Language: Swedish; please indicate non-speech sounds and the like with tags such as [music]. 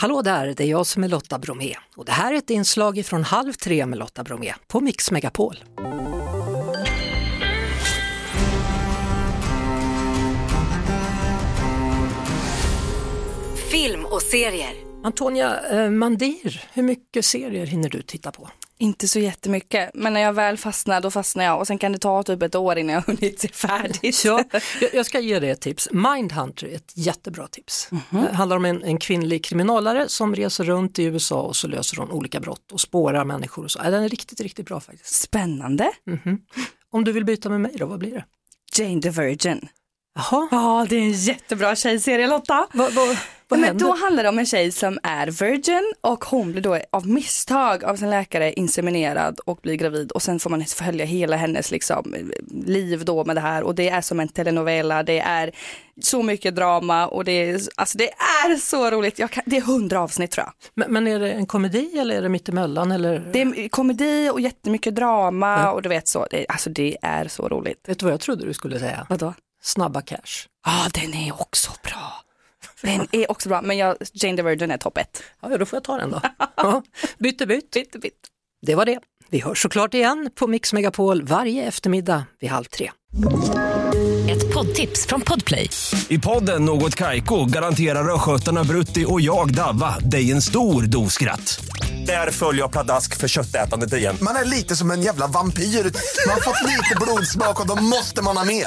Hallå där, det är jag som är Lotta Bromé och det här är ett inslag från Halv tre med Lotta Bromé på Mix Megapol. Film och serier. Antonia eh, Mandir, hur mycket serier hinner du titta på? Inte så jättemycket, men när jag väl fastnar då fastnar jag och sen kan det ta typ ett år innan jag har hunnit se [laughs] färdigt. Ja, jag- jag ska ge dig ett tips. Mindhunter är ett jättebra tips. Det handlar om en, en kvinnlig kriminalare som reser runt i USA och så löser hon olika brott och spårar människor. Och så. Ja, Den är riktigt, riktigt bra faktiskt. Spännande. Om du vill byta med mig då, vad blir det? Jane the Virgin. Jaha, Ja, det är en jättebra tjejserie Lotta. vad, vad, vad Men händer? då handlar det om en tjej som är virgin och hon blir då av misstag av sin läkare inseminerad och blir gravid och sen får man följa hela hennes liksom, liv då med det här och det är som en telenovela, det är så mycket drama och det är, alltså det är så roligt, jag kan, det är hundra avsnitt tror jag. Men, men är det en komedi eller är det mittemellan? Eller? Det är komedi och jättemycket drama och du vet så, det, alltså det är så roligt. Vet du vad jag trodde du skulle säga? Vadå? Snabba cash. Ja, den är också bra. Den är också bra, men jag, Jane the Virgin är topp ett. Ja, ja, då får jag ta den [laughs] då. Ja, bytte bytt. Bitte, bitte. Det var det. Vi hörs såklart igen på Mix Megapol varje eftermiddag vid halv tre. Ett poddtips från Podplay. I podden Något Kaiko garanterar östgötarna Brutti och jag, Davva, dig en stor dos skratt. Där följer jag pladask för köttätandet igen. Man är lite som en jävla vampyr. Man har fått lite blodsmak och då måste man ha mer.